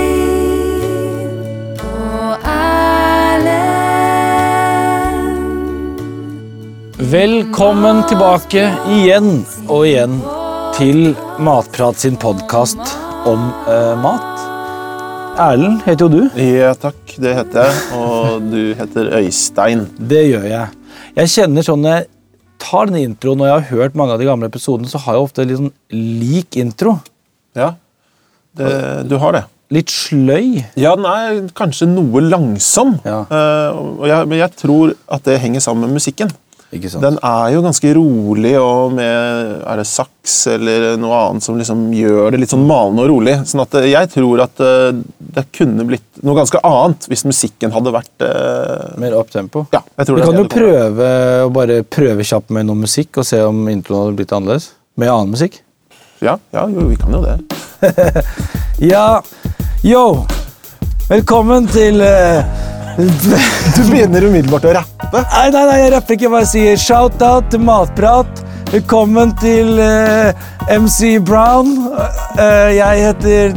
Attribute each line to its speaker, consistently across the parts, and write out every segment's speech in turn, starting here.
Speaker 1: Øystein og Erlend.
Speaker 2: Velkommen tilbake igjen og igjen til Matprat sin podkast om eh, mat. Erlend heter jo du.
Speaker 3: Ja takk, det heter jeg. Og du heter Øystein.
Speaker 2: Det gjør jeg. Jeg kjenner sånn når jeg tar denne introen, og jeg har hørt mange av de gamle episodene, så har jeg ofte litt sånn lik intro.
Speaker 3: Ja, det, du har det.
Speaker 2: Litt sløy.
Speaker 3: Ja, den er kanskje noe langsom.
Speaker 2: Ja.
Speaker 3: Eh, og jeg, men jeg tror at det henger sammen med musikken.
Speaker 2: Ikke
Speaker 3: Den er jo ganske rolig og med er det saks eller noe annet som liksom gjør det litt sånn malende og rolig. Sånn at eh, jeg tror at eh, det kunne blitt noe ganske annet hvis musikken hadde vært eh,
Speaker 2: Mer opptempo.
Speaker 3: Ja, jeg tror
Speaker 2: Vi
Speaker 3: det. er
Speaker 2: kan
Speaker 3: det
Speaker 2: jo
Speaker 3: det kommer.
Speaker 2: prøve å bare prøve kjapt med noe musikk og se om introen hadde blitt annerledes. Med annen musikk.
Speaker 3: Ja, ja jo, vi kan jo det.
Speaker 2: Ja, yo! Velkommen til eh,
Speaker 3: Du begynner umiddelbart å rappe.
Speaker 2: Nei, nei, nei, jeg rapper ikke. Jeg bare sier shout-out til Matprat. Velkommen til eh, MC Brown. Eh, jeg heter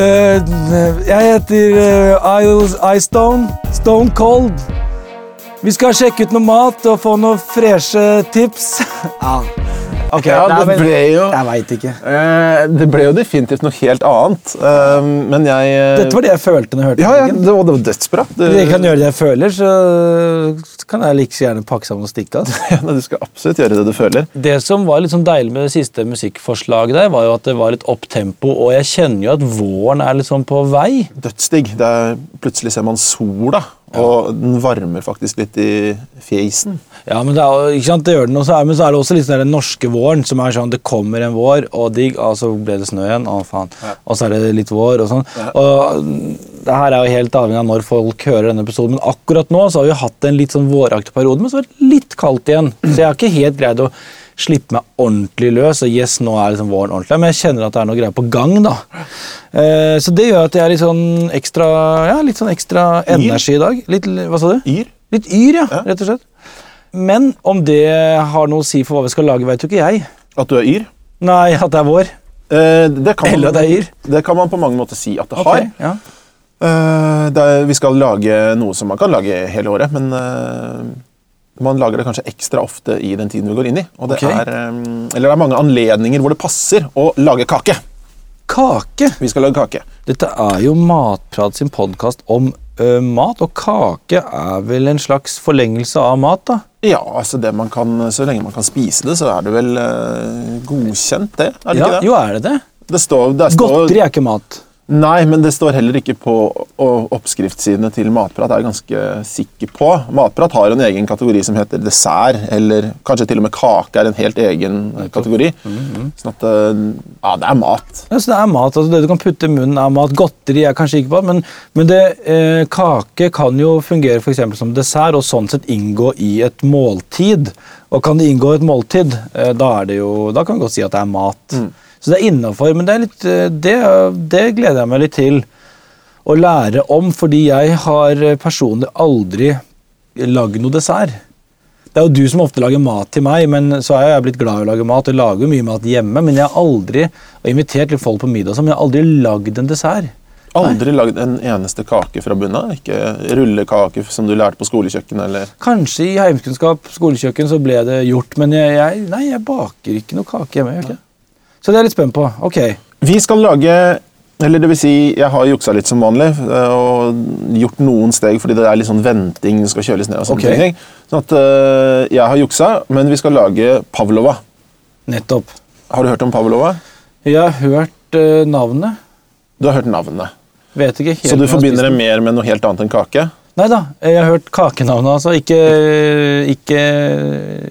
Speaker 2: eh, Jeg heter eh, Isles- Istone. Stone Cold. Vi skal sjekke ut noe mat og få noen freshe tips. ja. Ok,
Speaker 3: Ja,
Speaker 2: nei,
Speaker 3: det
Speaker 2: men-
Speaker 3: ble jo
Speaker 2: Jeg veit ikke.
Speaker 3: Eh, Det ble jo definitivt noe helt annet, eh, men jeg eh,
Speaker 2: Dette var det jeg følte når jeg hørte
Speaker 3: Ja, ja,
Speaker 2: musikken.
Speaker 3: det var, det var dødsbra. Det,
Speaker 2: Hvis jeg kan gjøre det jeg føler, så kan jeg like så gjerne pakke sammen og stikke av.
Speaker 3: du skal absolutt gjøre det du føler.
Speaker 4: Det som var litt sånn deilig med det siste musikkforslaget, der, var jo at det var litt opptempo, og jeg kjenner jo at våren er litt sånn på vei.
Speaker 3: Dødsdigg. Det er, plutselig ser man sola, og den varmer faktisk litt i fjesen.
Speaker 2: Ja, men det, er, jo- ikke sant, det gjør den også, men så er det også litt sånn der den norske våren, som er sånn det kommer en vår, og digg, og så ble det snø igjen, å faen, og så er det litt vår, og sånn. Og mm, det her er jo helt avhengig av når folk hører denne episoden, men akkurat nå så har vi hatt en litt sånn våraktig periode, men så har det vært litt kaldt igjen. Så jeg har ikke helt greid å slippe meg ordentlig løs, og yes, nå er liksom våren ordentlig, men jeg kjenner at det er noe greier på gang, da. Eh, så det gjør at jeg er litt sånn ekstra, ja, litt sånn ekstra energi i dag. Litt, hva sa du?
Speaker 3: Yr.
Speaker 2: Litt yr, ja,
Speaker 3: Ja.
Speaker 2: rett og slett. Men om det har noe å si for hva vi skal lage, veit jo ikke jeg.
Speaker 3: At du er yr.
Speaker 2: Nei, at det er vår.
Speaker 3: Eh, Det kan,
Speaker 2: Eller at
Speaker 3: man,
Speaker 2: det er yr.
Speaker 3: det kan man på mange måter si at det
Speaker 2: Ok,
Speaker 3: har.
Speaker 2: Ja.
Speaker 3: Eh, det er, vi skal lage noe som man kan lage hele året, men eh, man lager det kanskje ekstra ofte i den tiden vi går inn i. Og det
Speaker 2: Ok.
Speaker 3: er, eh, eller det er mange anledninger hvor det passer å lage kake.
Speaker 2: Kake.
Speaker 3: Vi skal lage kake.
Speaker 2: Dette er jo Matprat sin podkast om ø, mat, og kake er vel en slags forlengelse av mat, da?
Speaker 3: Ja, altså det man kan, Så lenge man kan spise det, så er det vel eh, godkjent, det? Er det ikke det?
Speaker 2: Jo, er det det?
Speaker 3: det står, det står,
Speaker 2: Godteri er ikke mat.
Speaker 3: Nei, men det står heller ikke på o- oppskriftssidene til Matprat. er jeg ganske sikker på. Matprat har en egen kategori som heter dessert, eller kanskje til og med kake er en helt egen eh, kategori. Sånn at eh, Ja, det er mat.
Speaker 2: Ja, så det er mat, altså Det du kan putte i munnen, er mat. Godteri er kanskje ikke mat, men, men det, eh, kake kan jo fungere for eksempel som dessert og sånn sett inngå i et måltid. Og kan det inngå i et måltid, eh, da, er det jo, da kan vi godt si at det er mat. Så det er innafor. Men det, er litt, eh, det, det gleder jeg meg litt til å lære om, fordi jeg har eh, personlig aldri lagd noe dessert. Det er jo du som ofte lager mat til meg, men så er jeg blitt glad i å lage mat. Jeg lager jo mye mat hjemme, men jeg har aldri og invitert litt folk på middag, og sånn, men jeg har aldri lagd en dessert.
Speaker 3: Aldri lagd en eneste kake fra bunnen av. Ikke rullekake som du lærte på skolekjøkkenet, eller
Speaker 2: Kanskje i heimkunnskap, skolekjøkken, så ble det gjort, men jeg, jeg, nei, jeg baker ikke noe kake hjemme. jeg Gjør ikke. det. Så det er jeg litt spent på. Ok.
Speaker 3: Vi skal lage eller det vil si, Jeg har juksa litt som vanlig eh, og gjort noen steg fordi det er litt sånn venting. det skal kjøles ned og sånne
Speaker 2: Ok.
Speaker 3: ting. Sånn at eh, Jeg har juksa, men vi skal lage pavlova.
Speaker 2: Nettopp.
Speaker 3: Har du hørt om pavlova?
Speaker 2: Jeg har hørt eh, navnet.
Speaker 3: Du har hørt navnet.
Speaker 2: Vet ikke helt
Speaker 3: Så du
Speaker 2: om jeg har
Speaker 3: forbinder
Speaker 2: spist
Speaker 3: det mer med noe helt annet enn kake?
Speaker 2: Nei da, jeg har hørt kakenavnet, altså. Ikke, ikke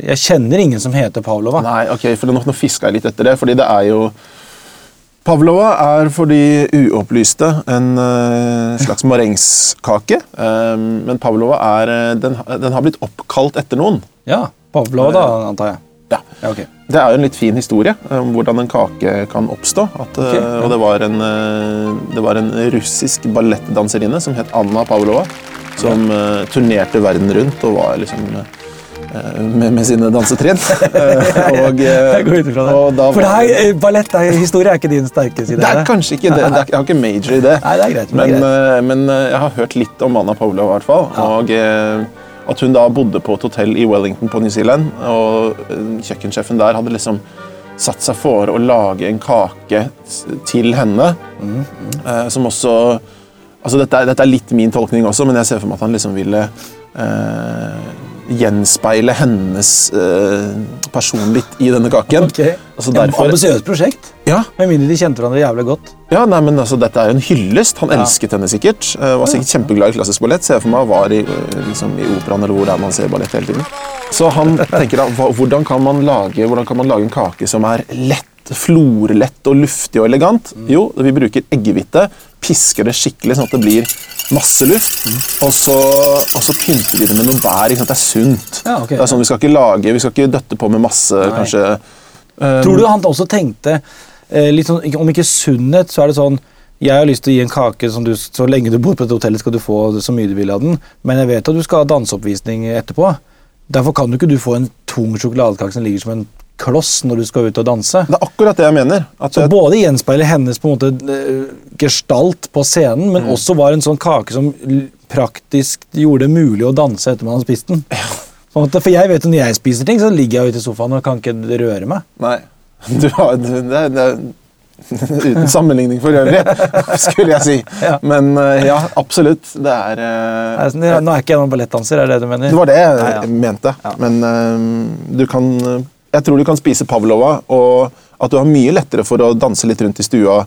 Speaker 2: Jeg kjenner ingen som heter Pavlova.
Speaker 3: Nei, ok, for nå, nå fiska jeg litt etter det, fordi det er jo Pavlova er for de uopplyste en eh, slags marengskake. eh, men pavlova er, eh, den, den har blitt oppkalt etter noen.
Speaker 2: Ja, Pavlova, da,
Speaker 3: Eh.
Speaker 2: antar jeg.
Speaker 3: Ja.
Speaker 2: Ja, ok.
Speaker 3: Det er jo en litt fin historie eh, om hvordan en kake kan oppstå. At, eh,
Speaker 2: Ok, ja.
Speaker 3: Og det var, en, eh, det var en russisk ballettdanserinne som het Anna Pavlova, som eh, turnerte verden rundt og var liksom eh, eh, med, med sine dansetrinn. Eh, og, eh,
Speaker 2: Jeg går ut ifra det.
Speaker 3: og da
Speaker 2: For det
Speaker 3: var-
Speaker 2: her, eh, ballett er historie er ikke din sterke side.
Speaker 3: det
Speaker 2: er
Speaker 3: er kanskje ikke det. det er, jeg har ikke major i det.
Speaker 2: Nei, det er greit, men
Speaker 3: Men,
Speaker 2: det er
Speaker 3: eh, men eh, jeg har hørt litt om Anna Paula, i hvert fall. Og eh, at hun da bodde på et hotell i Wellington på New Zealand. Og eh, kjøkkensjefen der hadde liksom satt seg for å lage en kake s- til henne.
Speaker 2: Mm,
Speaker 3: eh, Som også Altså, dette er, dette er litt min tolkning også, men jeg ser for meg at han liksom ville eh, gjenspeile hennes eh, personlighet i denne kaken.
Speaker 2: Ok.
Speaker 3: Altså,
Speaker 2: Et
Speaker 3: derfor-
Speaker 2: ambisiøst prosjekt.
Speaker 3: Ja,
Speaker 2: Med mindre de kjente hverandre jævlig godt.
Speaker 3: ja, nei, men altså, Dette er jo en hyllest. Han elsket henne sikkert. Eh, var sikkert kjempeglad i klassisk ballett. Ser jeg for meg var i, eh, liksom, i operaen eller hvor det er man ser ballett hele tiden. Så han tenker da, hva- hvordan kan, man lage, hvordan kan man lage en kake som er lett, florlett og luftig og elegant?
Speaker 2: Mm.
Speaker 3: Jo, vi bruker eggehvite, pisker det skikkelig sånn at det blir masse luft,
Speaker 2: Mm.
Speaker 3: og, så, og så pynter vi det med noe bær. Ikke sant? Det er sunt.
Speaker 2: Ja, ok.
Speaker 3: Det er sånn, vi skal ikke lage, vi skal ikke døtte på med masse, kanskje.
Speaker 2: Tror du han også tenkte eh, litt sånn, ikke- Om ikke sunnhet, så er det sånn Jeg har lyst til å gi en kake som du Så lenge du bor på dette hotellet, skal du få så mye du vil av den. Men jeg vet at du skal ha danseoppvisning etterpå. Derfor kan jo ikke du få en tung sjokoladekake som ligger som en kloss når du skal ut og danse.
Speaker 3: Det er akkurat det jeg mener. At
Speaker 2: Så
Speaker 3: jeg-
Speaker 2: både gjenspeiler hennes på en måte eh, gestalt på scenen, men
Speaker 4: Mm.
Speaker 2: også var en sånn kake som l- praktisk gjorde det mulig å danse etter man hadde spist den. På en måte, For jeg vet jo Når jeg spiser ting, så ligger jeg jo ute i sofaen og kan ikke røre meg.
Speaker 3: Nei. Du har, du, det, er- det, er- uten sammenligning for øvrig, skulle jeg si.
Speaker 2: Ja.
Speaker 3: Men eh, ja, absolutt. Det er eh,
Speaker 2: Jeg er sånn, ja, Nå er ikke jeg noen ballettdanser, er det det du mener?
Speaker 3: Det var det jeg
Speaker 2: Ja, ja.
Speaker 3: mente.
Speaker 2: Ja.
Speaker 3: Men eh, du kan eh, Jeg tror du kan spise pavlova, og at du har mye lettere for å danse litt rundt i stua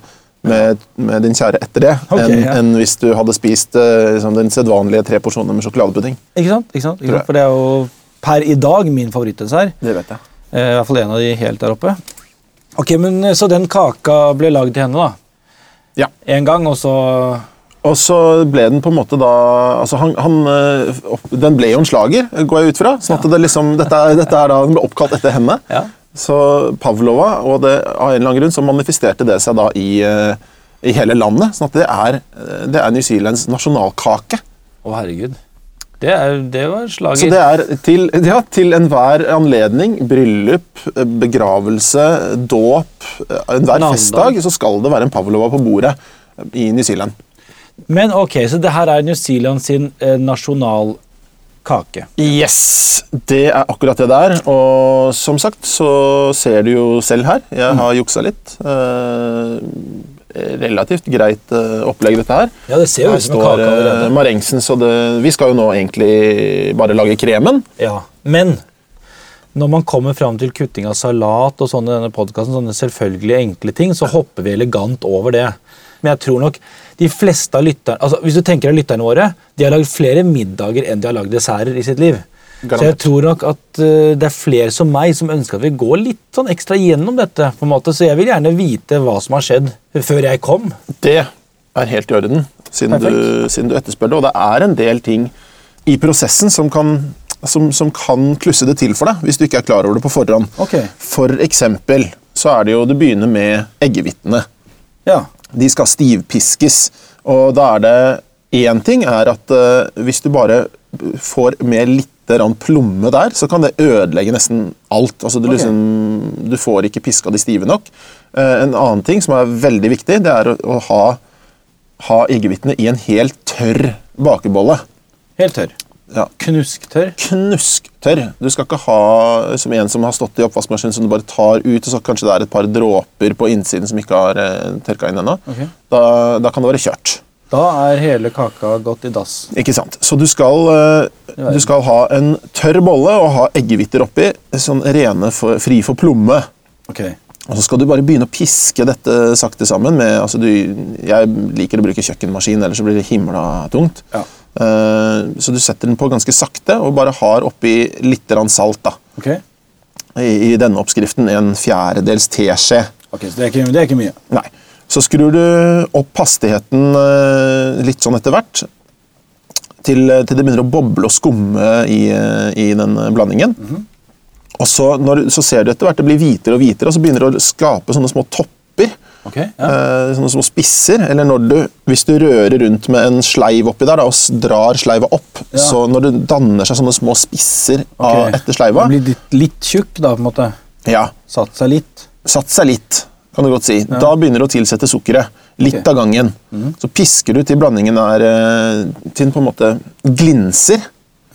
Speaker 3: med, med din kjære etter det,
Speaker 2: Ok,
Speaker 3: enn
Speaker 2: ja.
Speaker 3: enn hvis du hadde spist eh, liksom, den sedvanlige tre porsjoner med sjokoladepudding.
Speaker 2: Ikke sant? Ikke sant? Ikke
Speaker 3: Tror jeg.
Speaker 2: sant? For det er jo per i dag min favorittdessert.
Speaker 3: Det vet jeg.
Speaker 2: Eh, I hvert fall en av de helt der oppe. Ok, men eh, Så den kaka ble lagd til henne, da?
Speaker 3: Ja.
Speaker 2: En gang, og så
Speaker 3: Og så ble den på en måte da altså han, han, eh, opp, Den ble jo en slager, går jeg ut fra. sånn at det liksom, dette, er- dette er da, Den ble oppkalt etter henne.
Speaker 2: Ja.
Speaker 3: Så Pavlova, og det, av en eller annen grunn, så manifesterte det seg da i, eh, i hele landet. sånn at det er, eh, det er New Zealands nasjonalkake.
Speaker 4: Å, herregud. Det, er, det var slaget.
Speaker 3: Så det er til, ja, til enhver anledning, bryllup, eh, begravelse, dåp, eh, enhver
Speaker 4: Navnedag.
Speaker 3: festdag, så skal det være en Pavlova på bordet eh, i New Zealand.
Speaker 2: Men ok, så det her er New Zealand sin eh, nasjonalkake.
Speaker 3: Yes! Det er akkurat det det er. Og som sagt så ser du jo selv her. Jeg
Speaker 2: Mm.
Speaker 3: har juksa litt. Eh, relativt greit eh, opplegg, dette her.
Speaker 2: Ja, det ser jo
Speaker 3: Her
Speaker 2: ut som en kake
Speaker 3: står eh,
Speaker 2: allerede.
Speaker 3: Marensen, så det, vi skal jo nå egentlig bare lage kremen.
Speaker 2: Ja, Men når man kommer fram til kutting av salat og sånne, i denne podcasten, sånne selvfølgelige enkle ting, så hopper vi elegant over det. Men jeg tror nok de fleste av lytterne altså Hvis du tenker deg lytterne våre, de har lagd flere middager enn de har lagd desserter i sitt liv. Så jeg
Speaker 3: Garantert.
Speaker 2: tror nok at eh, det er flere som meg som ønsker at vi går litt sånn ekstra gjennom dette. på en måte, Så jeg vil gjerne vite hva som har skjedd før jeg kom.
Speaker 3: Det er helt i orden, siden, du, siden du etterspør det. Og det er en del ting i prosessen som kan, som, som kan klusse det til for deg, hvis du ikke er klar over det på forhånd.
Speaker 2: Ok.
Speaker 3: For eksempel så er det jo Du begynner med eggehvitene.
Speaker 2: Ja.
Speaker 3: De skal stivpiskes. Og da er det én ting er at eh, hvis du bare får med litt grann plomme der, så kan det ødelegge nesten alt. Altså, du, liksom, du får ikke piska de stive nok. Eh, en annen ting som er veldig viktig, det er å, å ha, ha eggehvitene i en helt tørr bakebolle.
Speaker 2: Helt tørr.
Speaker 3: Ja,
Speaker 2: Knusktørr.
Speaker 3: knusktørr. Du skal ikke ha som en som har stått i oppvaskmaskinen som du bare tar ut, og så kanskje det er et par dråper på innsiden som ikke har eh, tørka inn ennå.
Speaker 2: Ok.
Speaker 3: Da, da kan det være kjørt.
Speaker 2: Da er hele kaka gått i dass.
Speaker 3: Ikke sant? Så du skal, eh, du skal ha en tørr bolle og ha eggehviter oppi, sånn rene for, fri for plomme.
Speaker 2: Ok.
Speaker 3: Og så skal du bare begynne å piske dette sakte sammen. Med, altså du, jeg liker å bruke kjøkkenmaskin, ellers så blir det himla tungt.
Speaker 2: Ja.
Speaker 3: Eh, så du setter den på ganske sakte og bare har oppi litt grann salt. da.
Speaker 2: Ok,
Speaker 3: i, i denne oppskriften en fjerdedels teskje.
Speaker 2: Ok, så det er, ikke, det er ikke mye.
Speaker 3: Nei. Så skrur du opp hastigheten eh, litt sånn etter hvert, til, eh, til det begynner å boble og skumme i, eh, i den eh, blandingen.
Speaker 2: Mhm.
Speaker 3: Og så, når, så ser du etter hvert det blir hvitere og hvitere, og så begynner det å skape sånne små topper.
Speaker 4: Ok, ja.
Speaker 3: Eh, sånne små spisser. Eller når du, hvis du rører rundt med en sleiv oppi der da, og s- drar sleiva opp,
Speaker 2: Ja.
Speaker 3: så når det danner seg sånne små spisser
Speaker 2: Ok.
Speaker 3: av, etter sleiva
Speaker 2: Den blir litt, litt tjukk, da, på en måte.
Speaker 3: ja,
Speaker 2: Satt seg litt.
Speaker 3: Satt seg litt, kan du godt si. Da begynner du å tilsette sukkeret. Litt
Speaker 2: Ok. Mhm.
Speaker 3: av gangen. Så pisker du til blandingen er eh, til den på en måte glinser.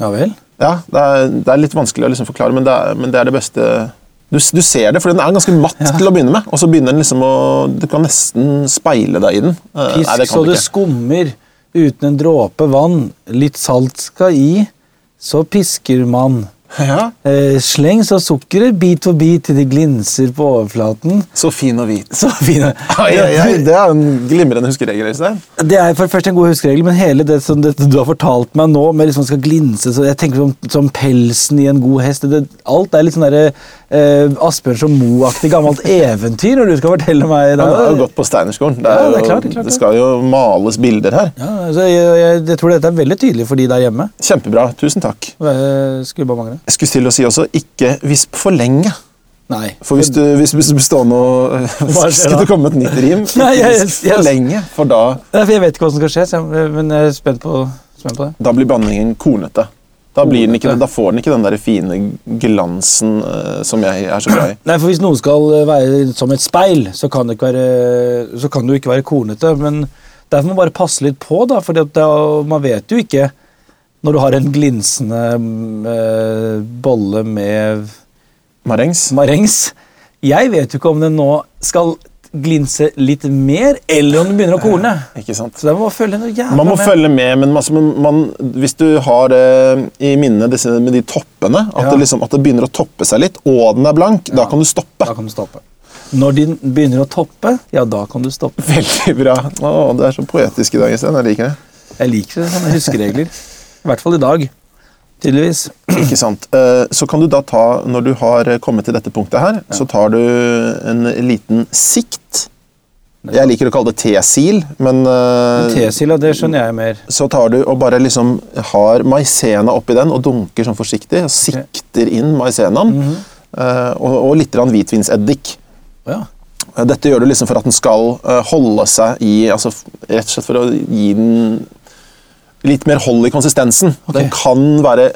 Speaker 2: Ja vel.
Speaker 3: Ja, det er, det er litt vanskelig å liksom forklare, men det er, men det, er det beste du, s- du ser det, for den er ganske matt til å begynne med. Og så begynner den liksom å Du kan nesten speile deg i den. Eh,
Speaker 2: Pisk
Speaker 3: nei, det kan
Speaker 2: så
Speaker 3: du
Speaker 2: det
Speaker 3: ikke.
Speaker 2: skummer uten en dråpe vann. Litt salt skal i, så pisker man.
Speaker 3: Ja.
Speaker 2: Eh, sleng så sukkeret bit for bit til det glinser på overflaten.
Speaker 3: Så fin og hvit.
Speaker 2: Så fine.
Speaker 3: Ai, ai, ai, det er en glimrende huskeregel. Øystein.
Speaker 2: Det er for det første en god huskeregel, men hele det som det, du har fortalt meg nå, med liksom skal glinse så Jeg tenker som, som pelsen i en god hest. Det, alt er litt sånn derre eh, Asbjørnsen Moe-aktig gammelt eventyr når du skal fortelle meg
Speaker 3: Han har jo
Speaker 2: det.
Speaker 3: gått på Steinerskolen. Det,
Speaker 2: Ja,
Speaker 3: er
Speaker 2: det er
Speaker 3: jo-
Speaker 2: klart, det er klart,
Speaker 3: det skal jo males bilder her.
Speaker 2: Ja, så jeg, jeg, jeg tror dette er veldig tydelig for de der hjemme.
Speaker 3: Kjempebra. Tusen takk.
Speaker 2: Eh, Skulle bare mangle.
Speaker 3: Jeg skulle til å si også ikke visp for lenge.
Speaker 2: Nei.
Speaker 3: For hvis du, hvis du består nå
Speaker 2: Hva skjer da?
Speaker 3: Skal det komme et nytt rim?
Speaker 2: Nei,
Speaker 3: Ikke
Speaker 2: jeg-
Speaker 3: visp for
Speaker 2: jeg-
Speaker 3: lenge, for da,
Speaker 2: Nei, for Jeg vet ikke hva som skal skje, så jeg, men jeg er spent på, spent på det.
Speaker 3: da blir blandingen kornete. Da, blir den ikke,
Speaker 2: Kornete.
Speaker 3: da får den ikke den der fine glansen eh, som jeg er så glad i.
Speaker 2: Nei, for Hvis noen skal eh, være som et speil, så kan det ikke være, så kan det jo ikke være kornete. Men derfor må man bare passe litt på, da, for man vet jo ikke når du har en glinsende mm, eh, bolle med
Speaker 3: Marengs.
Speaker 2: marengs. Jeg vet jo ikke om den nå skal glinse litt mer, eller om den begynner å korne.
Speaker 3: Ikke sant?
Speaker 2: Så der må man følge noe jævla
Speaker 3: Man må
Speaker 2: med.
Speaker 3: følge med, men altså, man, man, hvis du har eh, i minne disse, med de toppene, at,
Speaker 2: Ja.
Speaker 3: det liksom, at det begynner å toppe seg litt, og den er blank, da kan du stoppe.
Speaker 2: Da kan du stoppe. Når den begynner å toppe, ja, da kan du stoppe.
Speaker 3: Veldig bra. Å, det er så poetisk i dag, Øystein. Jeg liker det.
Speaker 2: Jeg liker sånne huskeregler. I hvert fall i dag. Tydeligvis.
Speaker 3: Ikke sant? Eh, Så kan du da ta, når du har eh, kommet til dette punktet her, så tar du en liten sikt. Jeg liker å kalle det tesil, men eh,
Speaker 2: Tesila, det skjønner jeg mer.
Speaker 3: så tar du og bare liksom har maisena oppi den og dunker sånn forsiktig, og sikter inn maisenaen, eh, og, og litt grann hvitvinseddik.
Speaker 2: Ja.
Speaker 3: Eh, Dette gjør du liksom for at den skal eh, holde seg i altså f- Rett og slett for å gi den litt mer hold i konsistensen. Den kan være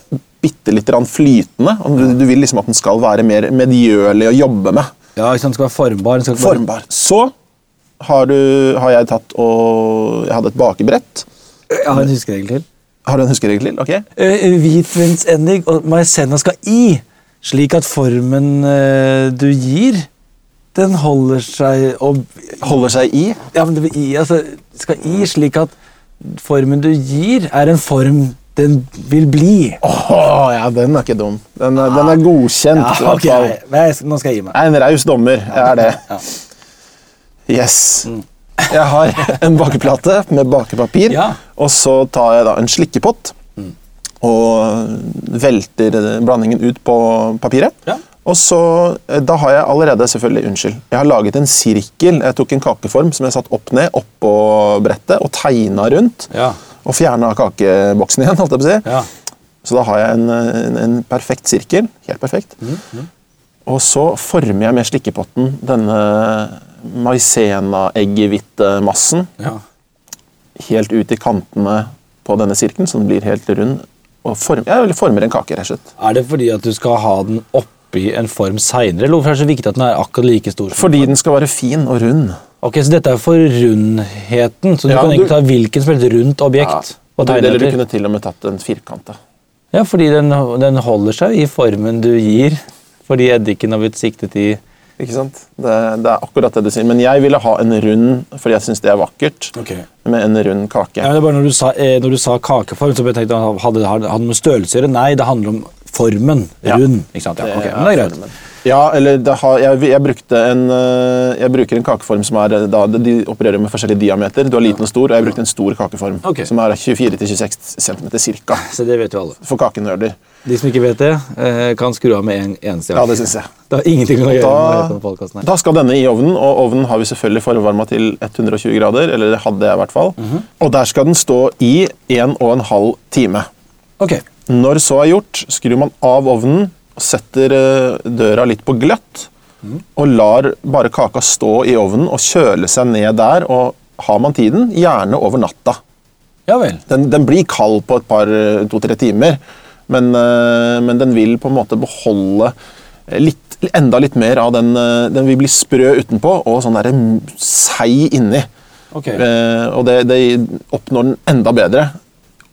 Speaker 3: bitte litt grann flytende. og Du, du vil liksom at den skal være mer medgjørlig å jobbe med.
Speaker 2: ja, ikke sant, den skal være formbar. Den skal ikke
Speaker 3: Formbar. Så har, du, har jeg tatt og Jeg hadde et bakebrett.
Speaker 2: bare, jeg har en huskeregel til.
Speaker 3: Har du en huskeregel til? Ok.
Speaker 2: Hvitvinsendig Eh, og maisenna skal i, slik at formen eh, du gir, den holder seg og
Speaker 3: Holder seg i.
Speaker 2: Ja, men det blir i, altså, skal i, slik at formen du gir, er en form den vil bli.
Speaker 3: Åh, ja, den er ikke dum. Den er, den er godkjent. i
Speaker 2: Ja,
Speaker 3: hvert
Speaker 2: ok,
Speaker 3: fall.
Speaker 2: nei, nei, jeg- Nå skal jeg gi meg.
Speaker 3: Jeg er en raus dommer, jeg er det. Yes.
Speaker 2: Mm.
Speaker 3: Jeg har en bakeplate med bakepapir,
Speaker 2: Ja. Mm.
Speaker 3: og så tar jeg da en slikkepott og velter blandingen ut på papiret.
Speaker 2: Ja.
Speaker 3: Og så, eh, Da har jeg allerede selvfølgelig, unnskyld, jeg har laget en sirkel. Jeg tok en kakeform som jeg satt opp ned oppå brettet og tegna rundt.
Speaker 2: Ja.
Speaker 3: Og fjerna kakeboksen igjen, holdt jeg på å si.
Speaker 2: Ja.
Speaker 3: Så da har jeg en, en, en perfekt sirkel. Helt perfekt.
Speaker 4: Mm,
Speaker 3: Og så former jeg med slikkepotten denne maisena-eggehvitemassen
Speaker 2: Ja.
Speaker 3: helt ut i kantene på denne sirkelen, så den blir helt rund. Og form, jeg former en kake, rett og slett.
Speaker 4: Er det fordi at du skal ha den oppi en form seinere, eller hvorfor er det så viktig at den er akkurat like stor? som-
Speaker 3: Fordi den skal være fin og rund.
Speaker 4: Ok, Så dette er for rundheten, så du
Speaker 3: Ja,
Speaker 4: kan
Speaker 3: du-
Speaker 4: egentlig ta hvilken som helst rundt objekt og
Speaker 3: Du,
Speaker 4: tegne
Speaker 3: eller du
Speaker 4: etter?
Speaker 3: kunne til og med tatt en firkant. da.
Speaker 4: Ja, fordi den, den holder seg i formen du gir, fordi eddiken har blitt siktet i
Speaker 3: Ikke sant? Det, det er akkurat det du sier. Men jeg ville ha en rund, fordi jeg syns det er vakkert,
Speaker 4: Ok.
Speaker 3: med en rund kake.
Speaker 4: Ja, men det er bare når du sa, eh, når du sa kakeform, så tenkte jeg hadde det hadde det noe med størrelse å gjøre. Nei, det handler om formen.
Speaker 3: Ja.
Speaker 4: Rund. Ikke sant? Ja,
Speaker 3: Det
Speaker 4: ok,
Speaker 3: er
Speaker 4: men det er greit.
Speaker 3: formen. Ja, eller det har, jeg, jeg brukte en øh, Jeg bruker en kakeform som er øh, da, De opererer med forskjellig diameter. Du har liten og stor, og jeg brukte en stor kakeform.
Speaker 4: Ok.
Speaker 3: Som er 24-26 cm cirka.
Speaker 4: Så det vet jo alle.
Speaker 3: For kakenerder.
Speaker 4: De som ikke vet det, eh, kan skru av med en eneste gang.
Speaker 3: Ja, det syns jeg.
Speaker 4: Det har ingenting å gjøre med
Speaker 3: Da,
Speaker 4: resten av podcasten her.
Speaker 3: da skal denne i ovnen, og ovnen har vi selvfølgelig forvarma til 120 grader. Eller det hadde jeg i hvert fall.
Speaker 4: Mhm.
Speaker 3: Og der skal den stå i 1,5 time.
Speaker 4: Ok,
Speaker 3: Når så er gjort, skrur man av ovnen og setter øh, døra eh, litt på gløtt. og lar bare kaka stå i ovnen og kjøle seg ned der. og Har man tiden, gjerne over natta.
Speaker 2: Ja vel.
Speaker 3: Den, den blir kald på et par eh, to-tre timer, men, eh, men den vil på en måte beholde litt, enda litt mer av den eh, Den vil bli sprø utenpå og sånn derre m- seig inni.
Speaker 2: Ok.
Speaker 3: Eh, og det, det oppnår den enda bedre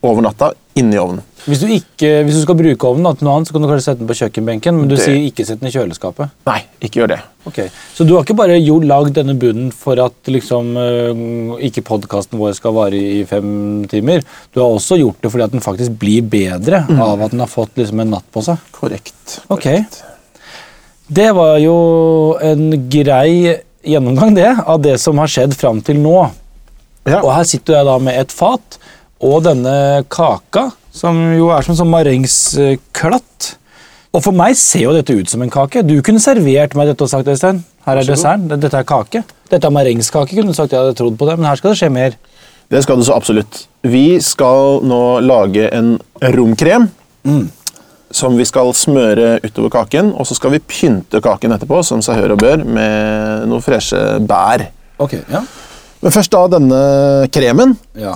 Speaker 3: over natta inni ovnen.
Speaker 2: Hvis du, ikke, hvis du skal bruke ovnen da, til noe annet, så kan du kanskje sette den på kjøkkenbenken, men du
Speaker 3: Det-
Speaker 2: sier ikke sett den i kjøleskapet.
Speaker 3: Nei, ikke gjør det.
Speaker 2: Ok, Så du har ikke bare jo lagd denne bunnen for at liksom, øh, ikke podkasten vår skal vare i fem timer. Du har også gjort det fordi at den faktisk blir bedre
Speaker 3: Mm.
Speaker 2: av at den har fått liksom, en natt på seg.
Speaker 3: Korrekt.
Speaker 2: Ok. Det var jo en grei gjennomgang, det, av det som har skjedd fram til nå.
Speaker 3: Ja.
Speaker 2: Og her sitter jeg da med et fat og denne kaka, som jo er som en sånn marengsklatt. Og for meg ser jo dette ut som en kake. Du kunne servert meg dette og sagt Øystein, her er desserten, det- dette er kake. Dette er marengskake, kunne du sagt. Jeg hadde trodd på det, men her skal det skje mer.
Speaker 3: Det skal du så absolutt. Vi skal nå lage en romkrem.
Speaker 2: Mm.
Speaker 3: Som vi skal smøre utover kaken, og så skal vi pynte kaken etterpå som seg hør og bør, med noen freshe bær.
Speaker 2: Ok, ja.
Speaker 3: Men først da denne kremen.
Speaker 2: ja.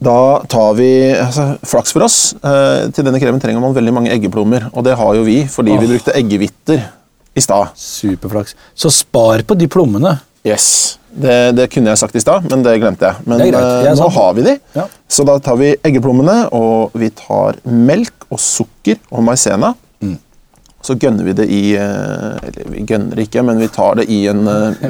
Speaker 3: Da tar vi altså, Flaks for oss. Eh, til denne kremen trenger man veldig mange eggeplommer, og det har jo vi fordi vi brukte eggehviter i stad.
Speaker 2: Superflaks. Så spar på de plommene.
Speaker 3: Yes. Det, det kunne jeg sagt i stad, men det glemte jeg. Men
Speaker 2: Det er greit.
Speaker 3: eh,
Speaker 2: Jeg
Speaker 3: nå
Speaker 2: sa-
Speaker 3: har vi de.
Speaker 2: Ja.
Speaker 3: Så da tar vi eggeplommene, og vi tar melk og sukker og maisena.
Speaker 2: Mm.
Speaker 3: Så gønner vi det i eh, Eller vi gønner det ikke, men vi tar det i en eh,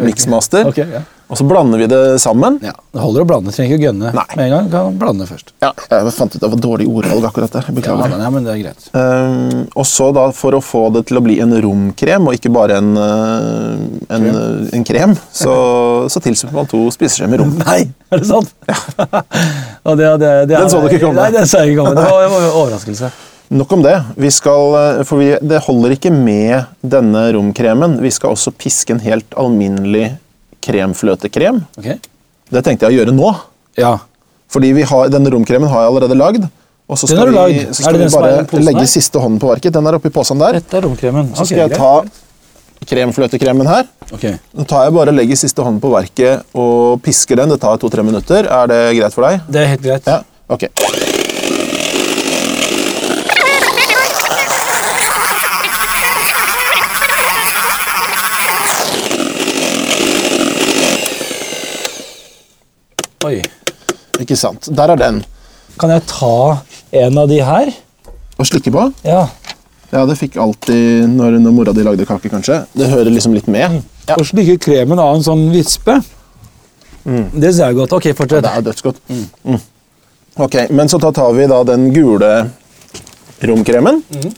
Speaker 3: mixmaster.
Speaker 2: Ok, ja.
Speaker 3: Og så blander vi det sammen.
Speaker 2: Ja, Det holder å blande, trenger ikke å gønne
Speaker 3: Nei.
Speaker 2: med en gang. Kan blande først.
Speaker 3: Ja, jeg fant ut det var dårlig ordvalg akkurat der.
Speaker 2: Ja,
Speaker 3: Beklager.
Speaker 2: men- ja, men det er greit.
Speaker 3: Ehm, og så da, For å få det til å bli en romkrem og ikke bare en, eh, en, eh, en krem, så, så tilsetter man to spiseskjeer med rom.
Speaker 2: Nei, er det sant? Og det, det, det er-
Speaker 3: Den så du ikke komme.
Speaker 2: Nei, den så jeg ikke komme. Det var, det var en overraskelse.
Speaker 3: Nok om det. Vi skal, eh, for vi, det holder ikke med denne romkremen. Vi skal også piske en helt alminnelig kremfløtekrem.
Speaker 2: Ok.
Speaker 3: Det tenkte jeg å gjøre nå.
Speaker 2: Ja.
Speaker 3: Fordi vi har, denne romkremen har jeg allerede lagd. Og så
Speaker 2: Den
Speaker 3: skal
Speaker 2: har du
Speaker 3: vi,
Speaker 2: lagd.
Speaker 3: så
Speaker 2: Er det
Speaker 3: skal vi
Speaker 2: den som er i den
Speaker 3: bare
Speaker 2: posen her?
Speaker 3: legge siste hånden på verket. Den er oppi posen der.
Speaker 2: Dette er romkremen. Ok,
Speaker 3: Så skal jeg
Speaker 2: greit.
Speaker 3: ta kremfløtekremen her.
Speaker 2: Ok.
Speaker 3: Nå tar jeg bare og legger siste hånden på verket og pisker den. Det tar to-tre minutter. Er det greit for deg?
Speaker 2: Det er helt greit.
Speaker 3: Ja, ok.
Speaker 2: Oi.
Speaker 3: Ikke sant. Der er den.
Speaker 2: Kan jeg ta en av de her?
Speaker 3: Å slikke på?
Speaker 2: Ja.
Speaker 3: Ja, det fikk alltid når, når mora di lagde kake, kanskje. Det hører liksom litt med. Ja,
Speaker 2: Og slikke kremen av en sånn vispe. Det ser jeg godt. Ok, fortsett.
Speaker 3: Mm. det er dødsgodt. Mm. Ok, men så da tar vi da den gule romkremen.
Speaker 2: Mm.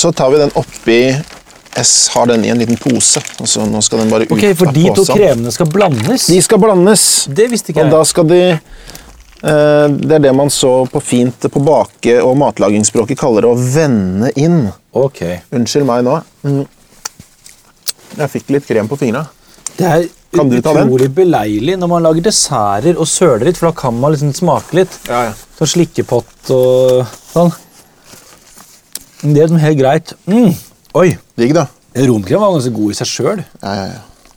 Speaker 3: Så tar vi den oppi Jeg har den i en liten pose. og så nå skal den bare ut
Speaker 2: Ok, For
Speaker 3: av
Speaker 2: de to
Speaker 3: posen.
Speaker 2: kremene skal blandes?
Speaker 3: De skal blandes.
Speaker 2: Det visste ikke
Speaker 3: Og da
Speaker 2: jeg.
Speaker 3: skal de eh, Det er det man så på fint på bake- og matlagingsspråket kaller å vende inn.
Speaker 2: Ok.
Speaker 3: Unnskyld meg nå. Mm. Jeg fikk litt krem på fingra.
Speaker 2: Det er
Speaker 3: Kan du ta den?
Speaker 2: utrolig beleilig når man lager desserter og søler litt, for da kan man liksom smake litt.
Speaker 3: Ja, ja.
Speaker 2: Sånn slikkepott og sånn. Men Det er liksom helt greit. Mm. Oi!
Speaker 3: Digg, da.
Speaker 2: Romkrem var ganske god i seg sjøl.
Speaker 3: Ja, ja, ja.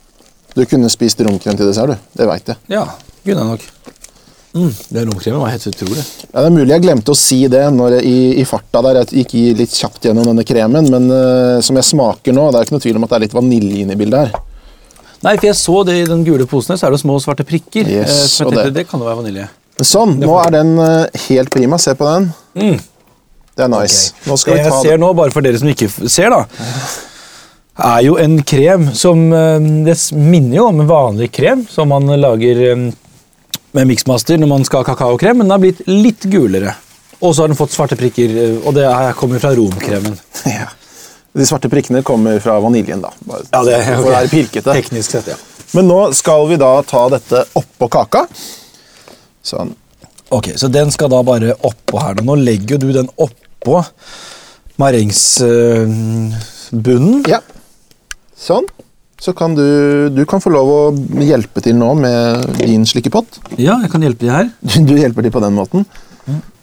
Speaker 3: Du kunne spist romkrem til dessert, du. Det veit jeg.
Speaker 2: Ja, kunne jeg nok. Mm. Den romkremen var helt utrolig.
Speaker 3: Ja, det er mulig jeg glemte å si det når jeg, i, i farta der. Jeg gikk i litt kjapt gjennom denne kremen, men eh, som jeg smaker nå, det er ikke noe tvil om at det er litt vanilje inni bildet her.
Speaker 2: Nei, for jeg så det i den gule posen her, så er det små svarte prikker.
Speaker 3: Yes,
Speaker 2: eh, så jeg
Speaker 3: og
Speaker 2: tenkte,
Speaker 3: det-
Speaker 2: det kan jo være vanilje.
Speaker 3: Sånn, nå er den eh, helt prima. Se på den. Det er nice.
Speaker 2: Mm. Ok.
Speaker 3: Nå skal
Speaker 2: det
Speaker 3: vi ta
Speaker 2: jeg ser nå, bare for dere som ikke f- ser, da, er jo en krem som eh, Det s- minner jo om en vanlig krem som man lager eh, med miksmaster når man skal ha kakaokrem, men den har blitt litt gulere. Og så har den fått svarte prikker, eh, og det her kommer fra romkremen.
Speaker 3: Ja. De svarte prikkene kommer fra vaniljen, da. Bare,
Speaker 2: Ja, det er-
Speaker 3: for å være pirkete.
Speaker 2: Teknisk sett, ja.
Speaker 3: Men nå skal vi da ta dette oppå kaka. Sånn.
Speaker 2: Ok, Så den skal da bare oppå her. Nå legger jo du den oppå marengsbunnen.
Speaker 3: Ja. Sånn. Så kan du Du kan få lov å hjelpe til nå med din slikkepott.
Speaker 2: ja, jeg kan hjelpe deg her.
Speaker 3: Du, du hjelper til på den måten.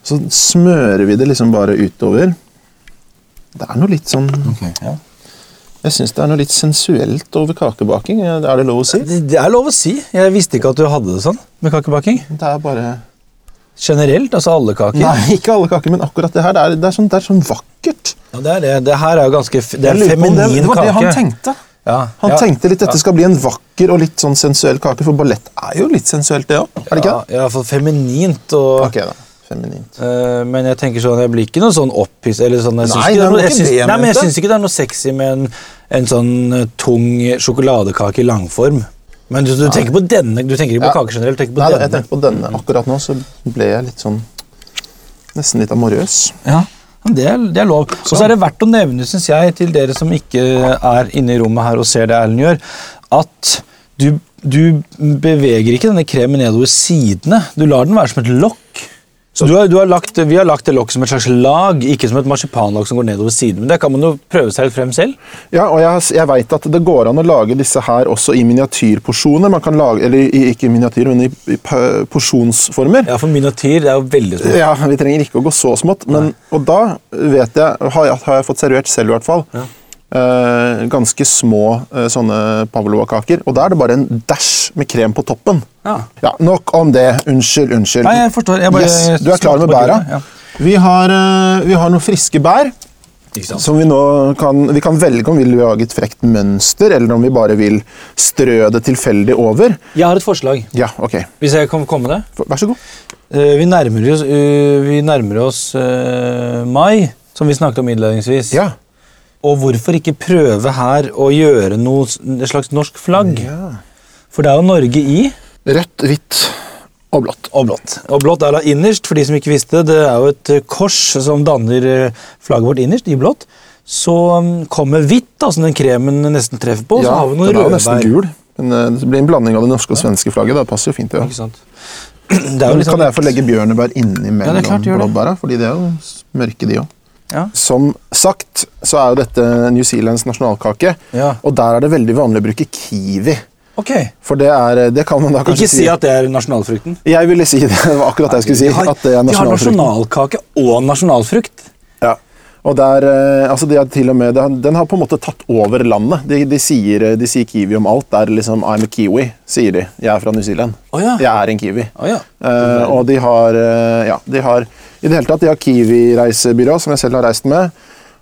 Speaker 3: Så smører vi det liksom bare utover. Det er noe litt sånn
Speaker 2: Ja.
Speaker 3: Jeg syns det er noe litt sensuelt over kakebaking. Er det lov å si?
Speaker 2: Det det er lov å si. Jeg visste ikke at du hadde det sånn med kakebaking.
Speaker 3: Det er bare
Speaker 2: Generelt, altså alle kaker.
Speaker 3: Nei, ikke alle kaker, men akkurat det her. Det er, det er, sånn, det er sånn vakkert.
Speaker 2: Ja, det er det. Det her er jo ganske f Det er
Speaker 3: Jeg lurer på om
Speaker 2: feminin
Speaker 3: det- Det var det han
Speaker 2: kake.
Speaker 3: tenkte.
Speaker 2: Ja,
Speaker 3: Han
Speaker 2: ja.
Speaker 3: tenkte litt dette skal bli en vakker og litt sånn sensuell kake, for ballett er jo litt sensuelt, det òg. Er det ikke det?
Speaker 2: Ja, i hvert fall feminint og
Speaker 3: Ok, da. Feminint.
Speaker 2: Eh, men jeg tenker sånn, jeg blir ikke noe sånn opphiss eller sånn, jeg syns ikke,
Speaker 3: Nei,
Speaker 2: det
Speaker 3: det
Speaker 2: er
Speaker 3: var
Speaker 2: noe- jeg
Speaker 3: ikke
Speaker 2: syns-
Speaker 3: det jeg
Speaker 2: nei, men jeg
Speaker 3: mente.
Speaker 2: syns ikke det er noe sexy med en, en sånn eh, tung sjokoladekake i langform. Men du, du tenker på denne, du tenker ikke på
Speaker 3: Ja.
Speaker 2: kake generelt, du tenker på
Speaker 3: Nei, da, jeg
Speaker 2: denne.
Speaker 3: tenker på denne akkurat nå, så ble jeg litt sånn Nesten litt amorøs.
Speaker 2: Ja, men det, er- det er lov. Og så er det verdt å nevne, syns jeg, til dere som ikke er inne i rommet her og ser det Erlend gjør, at du, du beveger ikke denne kremen nedover sidene. Du lar den være som et lokk. Så du har, du har lagt, Vi har lagt det lokket som et slags lag, ikke som et marsipanlokk som går nedover siden. Men det kan man jo prøve seg litt frem selv.
Speaker 3: Ja, og jeg, jeg veit at det går an å lage disse her også i miniatyrporsjoner. Man kan lage, eller i- ikke i miniatyr, men i, i p- porsjonsformer.
Speaker 2: Ja, For miniatyr det er jo veldig stort.
Speaker 3: Ja, Vi trenger ikke å gå så smått. Men, og da vet jeg, har, jeg, har jeg fått servert selv, i hvert fall, eh, ganske små eh, sånne pavlova-kaker. Og da er det bare en dæsj med krem på toppen.
Speaker 2: Ja.
Speaker 3: Nok om det. Unnskyld, unnskyld.
Speaker 2: Nei, jeg forstår. Jeg bare
Speaker 3: yes, du er klar
Speaker 2: smakte
Speaker 3: med
Speaker 2: på
Speaker 3: bæra?
Speaker 2: det, ja.
Speaker 3: Vi, har, eh, vi har noen friske bær.
Speaker 2: Ikke sant?
Speaker 3: Som vi nå kan, vi kan velge om vi vil lage et frekt mønster, eller om vi bare vil strø det tilfeldig over.
Speaker 2: Jeg har et forslag,
Speaker 3: Ja, ok.
Speaker 2: hvis jeg kan komme med det.
Speaker 3: Vær så god.
Speaker 2: Eh, Vi nærmer oss, eh, vi nærmer oss eh, mai, som vi snakket om innledningsvis.
Speaker 3: Ja.
Speaker 2: Og hvorfor ikke prøve her å gjøre noe, s- et slags norsk flagg? For det er jo Norge i.
Speaker 3: Rødt, hvitt og blått.
Speaker 2: Og blått. Og blått er da innerst, for de som ikke visste det. Det er jo et eh, kors som danner eh, flagget vårt innerst, i blått. Så mm, kommer hvitt, da, som den kremen nesten treffer på. og så har vi noen
Speaker 3: den er jo
Speaker 2: rødbær.
Speaker 3: nesten gul. Men eh, det blir en blanding av det norske og svenske flagget. Det passer jo fint. Ja.
Speaker 2: Ikke sant? Det er jo
Speaker 3: Men
Speaker 2: litt sånn-
Speaker 3: kan jeg få legge bjørnebær inni
Speaker 2: Ja, det er klart,
Speaker 3: mellom
Speaker 2: gjør det.
Speaker 3: blåbæra? Fordi det er jo s- mørke, de òg.
Speaker 2: Ja.
Speaker 3: Som sagt så er jo dette New Zealands nasjonalkake,
Speaker 2: Ja.
Speaker 3: og der er det veldig vanlig å bruke kiwi.
Speaker 2: Ok.
Speaker 3: For det er eh, Det kan man da kanskje
Speaker 2: Ikke si at det er nasjonalfrukten.
Speaker 3: Jeg ville si det. Det var akkurat det jeg skulle si.
Speaker 2: De har,
Speaker 3: at det er
Speaker 2: de har
Speaker 3: nasjonalfrukten.
Speaker 2: nasjonalkake og nasjonalfrukt.
Speaker 3: Ja. Og der, eh, altså de har til og med, det har- Den har på en måte tatt over landet. De, de, sier, eh, de sier kiwi om alt. Det er liksom 'I'm a kiwi', sier de. 'Jeg er fra New Zealand'.
Speaker 2: Å ja.
Speaker 3: Jeg er en kiwi.
Speaker 2: Å ja.
Speaker 3: Eh, og de har eh, Ja, de har i det hele tatt, de har Kiwi-reisebyrå, som jeg selv har reist med.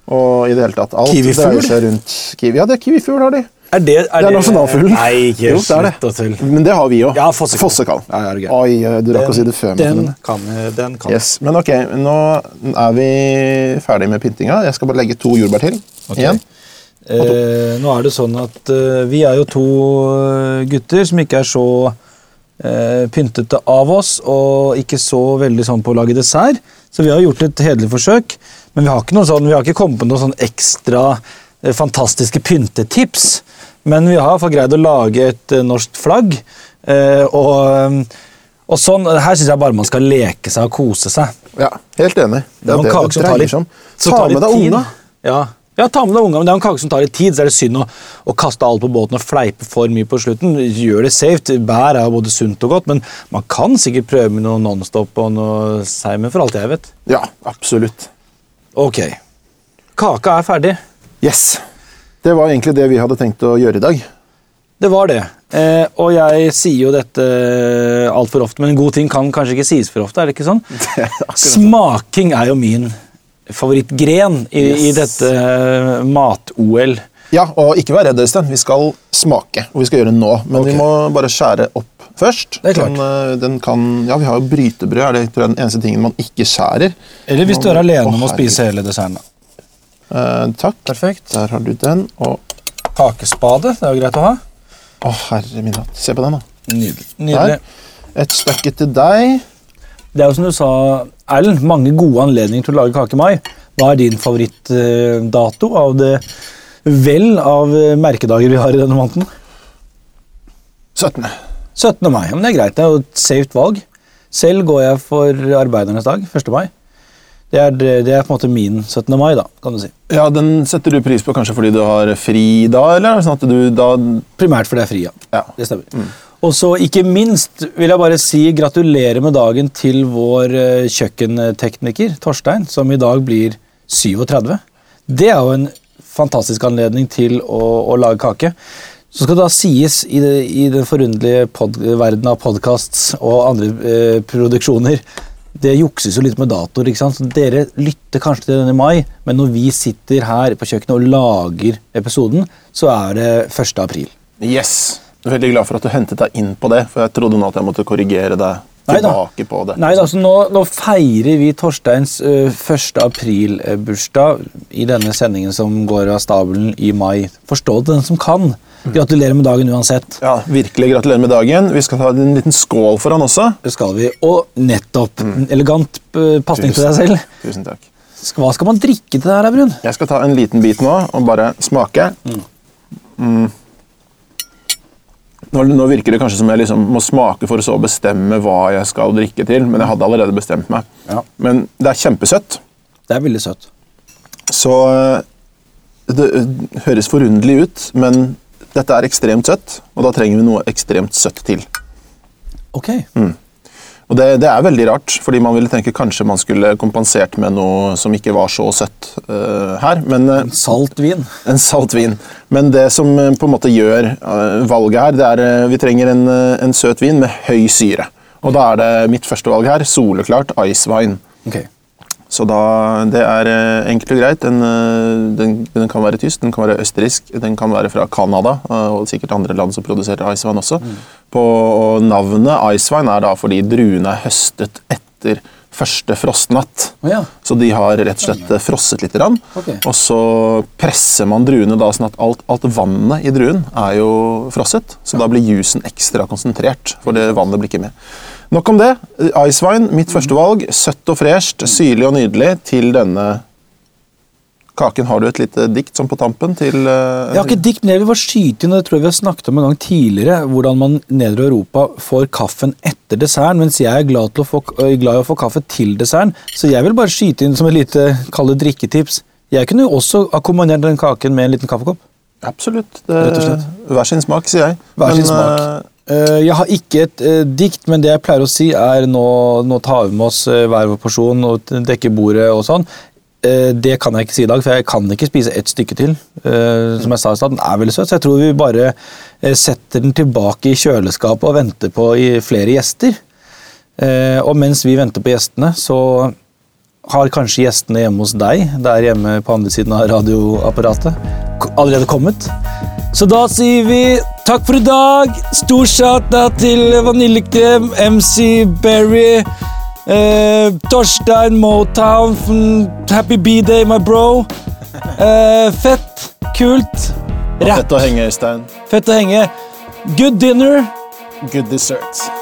Speaker 3: Og i det hele tatt alt
Speaker 2: Kiwifugl?
Speaker 3: dreier seg rundt kiwi. Ja, det er kiwifugl, har de.
Speaker 2: Er det, er
Speaker 3: Det er nasjonalfuglen.
Speaker 2: Nei, ikke
Speaker 3: Jo, det er det.
Speaker 2: slutt å tulle.
Speaker 3: Men det har vi òg.
Speaker 2: Ja, fossekall. Ja, er du gæren.
Speaker 3: Oi, eh, du rakk å si det før. men-
Speaker 2: Den kan, den kan.
Speaker 3: Yes, Men ok, nå er vi ferdig med pyntinga. Jeg skal bare legge to jordbær til. Igjen.
Speaker 2: Eh, nå er det sånn at eh, vi er jo to eh, gutter som ikke er så eh, pyntete av oss, og ikke så veldig sånn på å lage dessert. Så vi har gjort et hederlig forsøk, men vi har ikke, noe sånn, vi har ikke kommet på noen sånn ekstra eh, fantastiske pyntetips. Men vi har i hvert fall greid å lage et eh, norsk flagg. eh, og, og sånn, Her syns jeg bare man skal leke seg og kose seg.
Speaker 3: Ja, Helt enig. Det
Speaker 2: er
Speaker 3: er
Speaker 2: en
Speaker 3: det
Speaker 2: kake
Speaker 3: det
Speaker 2: som tar
Speaker 3: dreier
Speaker 2: litt,
Speaker 3: seg om.
Speaker 2: som
Speaker 3: Ta
Speaker 2: tar
Speaker 3: med
Speaker 2: litt
Speaker 3: deg
Speaker 2: tid.
Speaker 3: unga.
Speaker 2: Ja. ja, ta med deg unga, men det er en kake som tar litt tid, så er det synd å, å kaste alt på båten og fleipe for mye på slutten. Gjør det safe. Bær er jo både sunt og godt, men man kan sikkert prøve med noe Nonstop og noe Seimen, for alt jeg vet.
Speaker 3: Ja, absolutt.
Speaker 2: Ok. Kaka er ferdig.
Speaker 3: Yes. Det var egentlig det vi hadde tenkt å gjøre i dag.
Speaker 2: Det var det. Eh, og jeg sier jo dette altfor ofte, men en god ting kan kanskje ikke sies for ofte. er det ikke sånn? Smaking er jo min favorittgren i, i
Speaker 3: Yes.
Speaker 2: dette eh, mat-OL.
Speaker 3: Ja, og ikke vær redd, Øystein. Vi skal smake, og vi skal gjøre det nå. Men
Speaker 2: Ok.
Speaker 3: vi må bare skjære opp først.
Speaker 2: Det er klart.
Speaker 3: Den, eh, den kan, ja, vi har jo brytebrød. Er det tror jeg, den eneste tingen man ikke skjærer?
Speaker 2: Eller hvis du er
Speaker 3: Å,
Speaker 2: alene om å
Speaker 3: herregud.
Speaker 2: spise hele desserten. da.
Speaker 3: Eh, takk.
Speaker 2: Perfekt.
Speaker 3: Der har du den. Og
Speaker 2: Kakespade, det er jo greit å ha.
Speaker 3: Å, herre min hatt. Se på den, da.
Speaker 2: Nydelig.
Speaker 3: Der. Et stykke til deg.
Speaker 2: Det er jo som du sa, Erlend, mange gode anledninger til å lage kake i mai. Hva er din favorittdato av det vel av eh, merkedager vi har i denne måneden?
Speaker 3: 17.
Speaker 2: 17. mai. Men det er greit, det er jo et safe valg. Selv går jeg for arbeidernes dag, 1. mai. Det er, det er på en måte min 17. mai, da, kan du si.
Speaker 3: Ja, Den setter du pris på kanskje fordi du har fri da, eller? er det Sånn at du da
Speaker 2: Primært fordi jeg er fri, ja.
Speaker 3: Ja.
Speaker 2: Det stemmer. Og så ikke minst vil jeg bare si gratulerer med dagen til vår eh, kjøkkentekniker Torstein, som i dag blir 37. Det er jo en fantastisk anledning til å, å lage kake. Så skal det da sies i, det, i den forunderlige pod verden av podkasts og andre eh, produksjoner Det jukses jo litt med datoer. ikke sant? Så dere lytter kanskje til denne i mai, men når vi sitter her på kjøkkenet og lager episoden, så er det 1. april.
Speaker 3: Yes! Veldig glad for at du hentet deg inn på det, for jeg trodde nå at jeg måtte korrigere deg
Speaker 2: Neida.
Speaker 3: tilbake på det.
Speaker 2: Nei, altså nå, nå feirer vi Torsteins eh, 1. april-bursdag i denne sendingen som går av stabelen i mai. Forstå det den som kan. Gratulerer med dagen uansett.
Speaker 3: Ja, virkelig gratulerer med dagen. Vi skal ta en liten skål for han også.
Speaker 2: Det skal vi. Og nettopp. En elegant eh, pasning til deg selv.
Speaker 3: Mm. Tusen takk.
Speaker 2: Sk- Hva skal man drikke til det her, da, Brun?
Speaker 3: Jeg skal ta en liten bit nå og bare smake. Mm. Nå, nå virker det kanskje som jeg liksom må smake for å så bestemme hva jeg skal drikke til, men jeg hadde allerede bestemt meg.
Speaker 2: Ja.
Speaker 3: Men det er kjempesøtt,
Speaker 2: Det er veldig søtt.
Speaker 3: så eh, det eh, høres forunderlig ut, men dette er ekstremt søtt, og da trenger vi noe ekstremt søtt til.
Speaker 2: Ok.
Speaker 3: Mm. Og det, det er veldig rart, fordi man ville tenke kanskje man skulle kompensert med noe som ikke var så søtt eh, her, men eh,
Speaker 2: Salt vin.
Speaker 3: En salt vin. Men det som eh, på en måte gjør eh, valget her, det er eh, vi trenger en, eh, en søt vin med høy syre. Og da er det mitt første valg her, soleklart icewine.
Speaker 2: Ok.
Speaker 3: Så da, det er eh, enkelt og greit. Den, eh, den, den kan være tysk, den kan være østerriksk, den kan være fra Canada eh, og sikkert andre land som produserer icewine også.
Speaker 2: Mm.
Speaker 3: På, og navnet icewine er da fordi druene er høstet etter første frostnatt.
Speaker 2: Å ja.
Speaker 3: Så de har rett og slett eh, frosset litt. Grann,
Speaker 2: Ok.
Speaker 3: Og så presser man druene da, sånn at alt, alt vannet i druen er jo frosset. Så da blir jusen ekstra konsentrert, for det vannet blir ikke med. Nok om det. Icewine,
Speaker 2: Mm.
Speaker 3: mitt første valg. Søtt og fresht, syrlig og nydelig til denne kaken. Har du et lite dikt sånn på tampen til eh,
Speaker 2: Jeg har ikke et dikt, men jeg vil bare skyte inn, og det tror jeg vi har snakket om en gang tidligere, hvordan man nede i Europa får kaffen etter desserten, mens jeg er glad, til å få, ø, glad i å få kaffe til desserten. Så jeg vil bare skyte inn som et lite kall det drikketips. Jeg kunne jo også akkompagnert den kaken med en liten kaffekopp.
Speaker 3: Absolutt. Det,
Speaker 2: Rett og slett.
Speaker 3: Hver sin smak, sier jeg.
Speaker 2: Hver sin
Speaker 3: Men,
Speaker 2: smak.
Speaker 3: eh,
Speaker 2: Eh, Jeg har ikke et eh, dikt, men det jeg pleier å si er nå, nå tar vi med oss eh, hver vår porsjon og t- dekker bordet og sånn. Eh, Det kan jeg ikke si i dag, for jeg kan ikke spise ett stykke til. Eh, Som jeg sa i stad, den er veldig søt, så jeg tror vi bare eh, setter den tilbake i kjøleskapet og venter på i- flere gjester. Eh, Og mens vi venter på gjestene, så har kanskje gjestene hjemme hos deg, der hjemme på andre siden av radioapparatet, k- allerede kommet. Så da sier vi takk for i dag. Stor shout-out til Vaniljekrem, MC Berry, eh, Torstein Motown, f- Happy B-Day, my bro. Eh, fett, kult,
Speaker 3: Fett å henge, Øystein.
Speaker 2: fett å henge. Good dinner.
Speaker 3: Good dessert.